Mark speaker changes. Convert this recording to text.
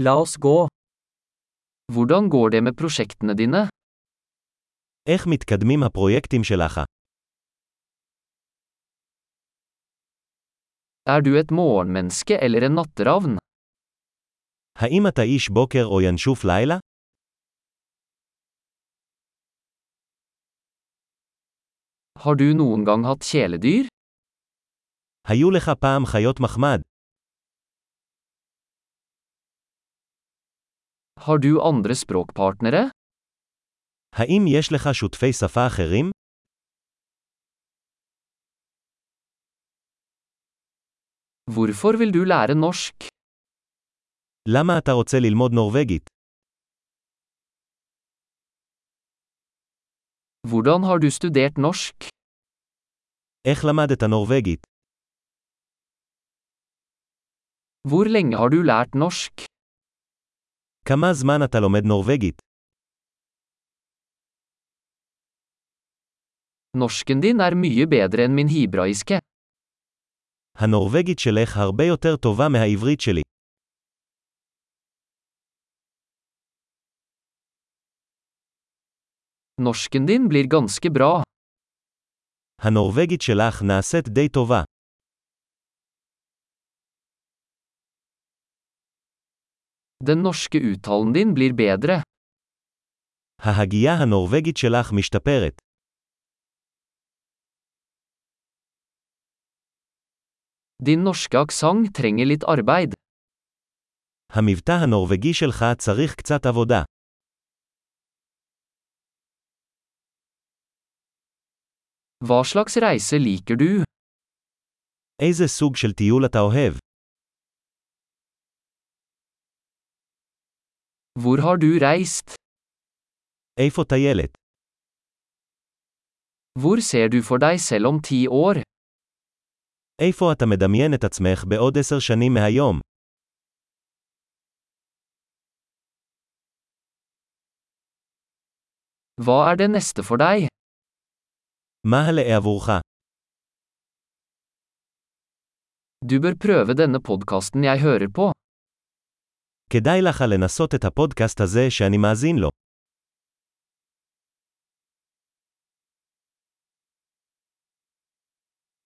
Speaker 1: La oss gå. Hvordan går det med prosjektene dine?
Speaker 2: איך מתקדמים הפרויקטים שלך?
Speaker 1: Er du et morgenmenneske eller en natteravn?
Speaker 2: האם אתה איש בוקר או ינשוף לילה?
Speaker 1: Har du noen gang hatt kjæledyr?
Speaker 2: היו לך פעם חיות מחמד?
Speaker 1: Har du andre språkpartnere?
Speaker 2: האם יש לך שותפי שפה אחרים?
Speaker 1: Hvorfor vil du lære norsk?
Speaker 2: למה אתה רוצה ללמוד נורבגית?
Speaker 1: Hvordan har du studert norsk?
Speaker 2: איך למדת נורבגית?
Speaker 1: Hvor lenge har du lært norsk?
Speaker 2: כמה זמן אתה לומד נורבגית?
Speaker 1: Norsken din er mye bedre enn min hibraiske.
Speaker 2: הנורבגית שלך הרבה יותר טובה מהעברית שלי.
Speaker 1: Norsken din blir ganske bra.
Speaker 2: הנורבגית שלך נעשית די טובה.
Speaker 1: Den norske uttalen din blir bedre.
Speaker 2: ההגייה הנורבגית שלך משתפרת.
Speaker 1: Din norske aksent trenger litt arbeid.
Speaker 2: המבטא הנורבגי שלך צריך קצת עבודה.
Speaker 1: Hva slags reise liker du?
Speaker 2: איזה סוג של טיול אתה אוהב?
Speaker 1: Hvor har du reist?
Speaker 2: איפה טיילת?
Speaker 1: Hvor ser du for deg selv om ti år?
Speaker 2: איפה אתה מדמיין את עצמך בעוד עשר שנים מהיום?
Speaker 1: Hva er det neste for deg?
Speaker 2: מה הלאה עבורך?
Speaker 1: Du bør prøve denne podkasten jeg hører på.
Speaker 2: כדאי לך לנסות את הפודקאסט הזה שאני מאזין לו.